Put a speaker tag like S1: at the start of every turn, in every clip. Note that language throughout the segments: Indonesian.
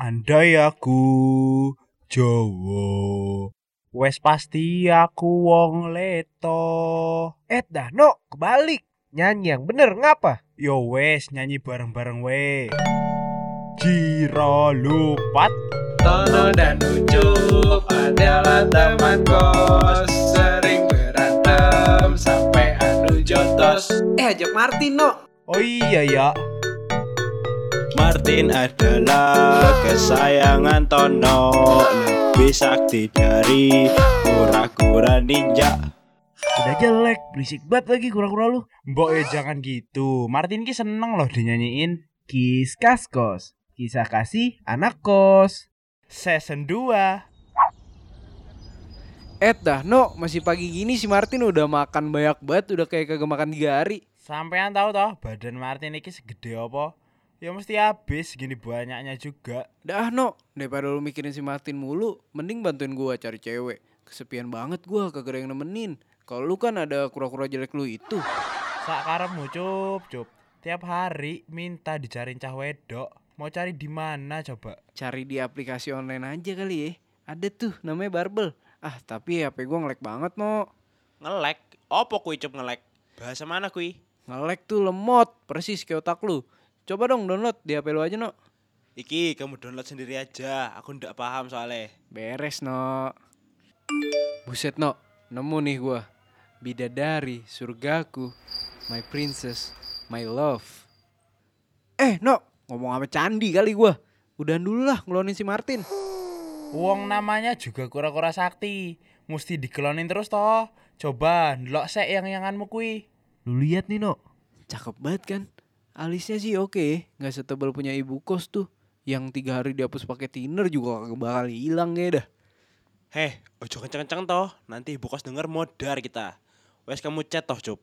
S1: Andai aku Jawa, wes pasti aku wong leto.
S2: Eh, Dano, kebalik. Nyanyi yang bener ngapa?
S1: Yo wes nyanyi bareng-bareng we. Jiro lupat
S3: Tono dan Ucup adalah teman kos Sering berantem sampai anu jotos
S2: Eh, ajak Martin, no.
S1: Oh iya ya,
S3: Martin adalah kesayangan Tono Lebih sakti dari kura-kura ninja
S2: Udah jelek, berisik banget lagi kura-kura lu.
S1: mbok ya jangan gitu. Martin ki seneng loh dinyanyiin.
S2: Kiskas kos, kisah kasih anak kos.
S1: Season 2.
S4: Eh dah, no, masih pagi gini si Martin udah makan banyak banget, udah kayak kagak makan tiga hari.
S1: Sampean tahu toh badan Martin iki segede apa? Ya mesti habis gini banyaknya juga.
S4: Dah, no, daripada lu mikirin si Martin mulu, mending bantuin gua cari cewek. Kesepian banget gua, kagak ada yang nemenin. Kalau lu kan ada kura-kura jelek lu itu.
S1: Sakarepmu cup cup. Tiap hari minta dicariin cah wedok. Mau cari di mana coba?
S4: Cari di aplikasi online aja kali ya. Ada tuh, namanya Barbel. Ah, tapi HP gua ngelek banget, no.
S5: Ngelek? Opo kui cup ngelek? Bahasa mana kui?
S4: Ngelek tuh lemot, persis kayak otak lu. Coba dong download di HP lu aja, no.
S5: Iki kamu download sendiri aja, aku ndak paham soalnya.
S4: Beres, no. Buset, no. Nemu nih gua. Bidadari, surgaku, my princess, my love. Eh, no. Ngomong sama Candi kali gua. Udahan dulu lah ngelonin si Martin.
S1: Wong namanya juga kura-kura sakti. Mesti dikelonin terus toh. Coba ndelok sek yang-yanganmu kui.
S2: Lu lihat nih, no.
S4: Cakep banget kan? Alisnya sih oke, nggak setebal punya ibu kos tuh. Yang tiga hari dihapus pakai thinner juga kagak bakal hilang ya dah.
S5: Heh, ojo kenceng-kenceng toh, nanti ibu kos denger modar kita. Wes kamu chat toh cup.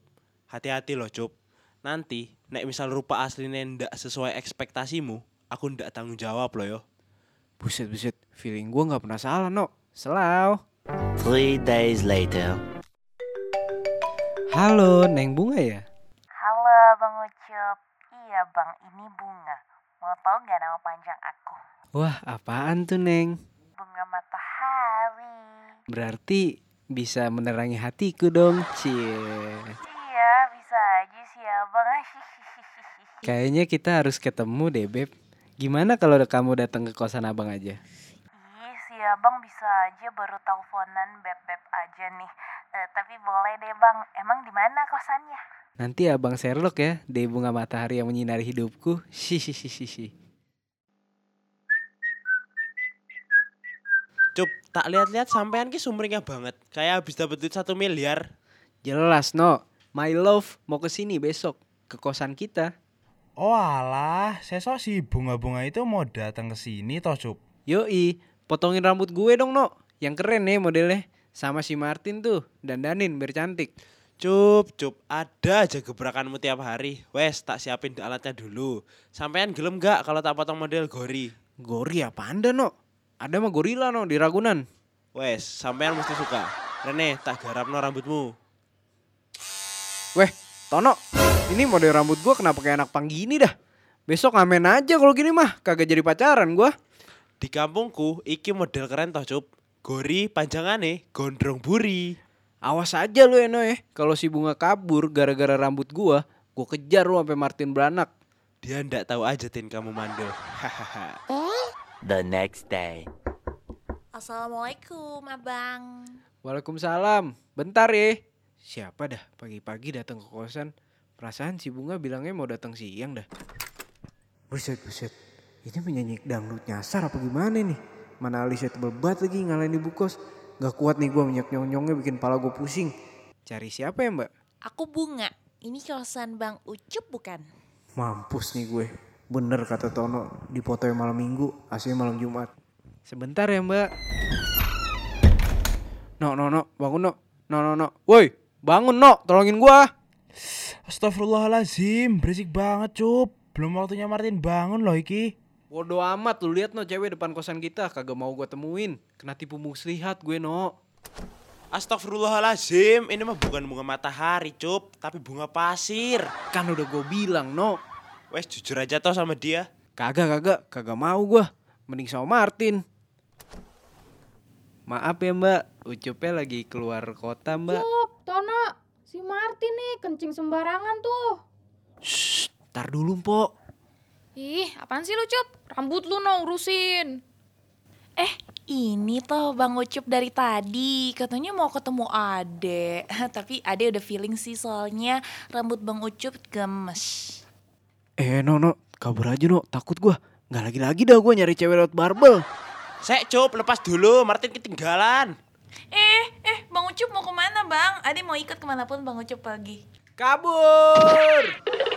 S5: Hati-hati loh cup. Nanti, nek misal rupa aslinya ndak sesuai ekspektasimu, aku ndak tanggung jawab loh yo.
S4: Buset buset, feeling gua nggak pernah salah, no. Selau.
S6: Three days later.
S4: Halo, Neng Bunga ya?
S7: Halo Bang Ucup, iya Bang ini Bunga. Mau tau gak nama panjang aku?
S4: Wah, apaan tuh, Neng?
S7: Bunga Matahari.
S4: Berarti bisa menerangi hatiku dong, Cie.
S7: Iya bisa aja sih ya Bang.
S4: Kayaknya kita harus ketemu deh, Beb. Gimana kalau kamu datang ke kosan abang aja?
S7: Ih sih ya Bang bisa aja baru teleponan beb-beb aja nih. Eh, tapi boleh deh Bang, emang di mana kosannya?
S4: Nanti abang Sherlock ya, deh bunga matahari yang menyinari hidupku. Shishishishi.
S5: Cup, tak lihat-lihat sampean ki sumringah banget. Kayak habis dapet duit satu miliar.
S4: Jelas, no. My love, mau ke sini besok. Ke kosan kita.
S1: Oh alah, sesok si bunga-bunga itu mau datang ke sini toh cup.
S4: Yoi, potongin rambut gue dong, no. Yang keren nih modelnya. Sama si Martin tuh, dandanin biar cantik.
S5: Cup, cup, ada aja gebrakanmu tiap hari. Wes, tak siapin alatnya dulu. Sampean gelem gak kalau tak potong model gori?
S4: Gori apa anda, no? Ada mah gorila, no, di Ragunan.
S5: Wes, sampean mesti suka. Rene, tak garapno rambutmu.
S4: Weh, Tono, ini model rambut gua kenapa kayak anak pang gini dah? Besok ngamen aja kalau gini mah, kagak jadi pacaran gua.
S5: Di kampungku, iki model keren toh, Cup. Gori panjangane gondrong buri.
S4: Awas aja lu Eno ya, kalau si bunga kabur gara-gara rambut gua, gua kejar lu sampai Martin beranak.
S5: Dia ndak tahu aja tin kamu mandul. Hahaha.
S6: The next day.
S8: Assalamualaikum, Abang.
S4: Waalaikumsalam, bentar ya. Siapa dah pagi-pagi datang ke kosan? Perasaan si bunga bilangnya mau datang siang dah. Buset buset, ini penyanyi dangdut nyasar apa gimana nih? Mana alisnya tebel banget lagi ngalahin ibu kos. Gak kuat nih gua minyak nyong-nyongnya bikin pala gua pusing. Cari siapa ya mbak?
S8: Aku Bunga. Ini kosan Bang Ucup bukan?
S4: Mampus nih gue. Bener kata Tono, dipotong malam minggu, aslinya malam Jumat. Sebentar ya mbak. No, no, no, bangun no. No, no, no. Woi, bangun no, tolongin gua.
S1: Astagfirullahalazim, berisik banget cup. Belum waktunya Martin bangun loh iki.
S4: Bodoh amat, lu lihat no cewek depan kosan kita, kagak mau gua temuin. Kena tipu muslihat gue no.
S5: Astagfirullahalazim, ini mah bukan bunga matahari, Cup, tapi bunga pasir.
S4: Kan udah gue bilang no.
S5: Wes jujur aja toh sama dia.
S4: Kagak, kagak, kagak mau gua. Mending sama Martin. Maaf ya mbak, Ucupnya lagi keluar kota mbak.
S9: Cup, Tono, si Martin nih kencing sembarangan tuh.
S4: Shh, tar dulu Mpok.
S9: Ih, apaan sih lu, Cup? Rambut lu no urusin.
S8: Eh, ini toh Bang Ucup dari tadi. Katanya mau ketemu Ade. Tapi Ade udah feeling sih soalnya rambut Bang Ucup gemes.
S4: Eh no no, kabur aja no, takut gua. Nggak lagi-lagi dah gua nyari cewek lewat barbel.
S5: Sek Cup, lepas dulu, Martin ketinggalan.
S8: Eh, eh Bang Ucup mau kemana Bang? Ade mau ikut kemanapun Bang Ucup pergi.
S5: Kabur!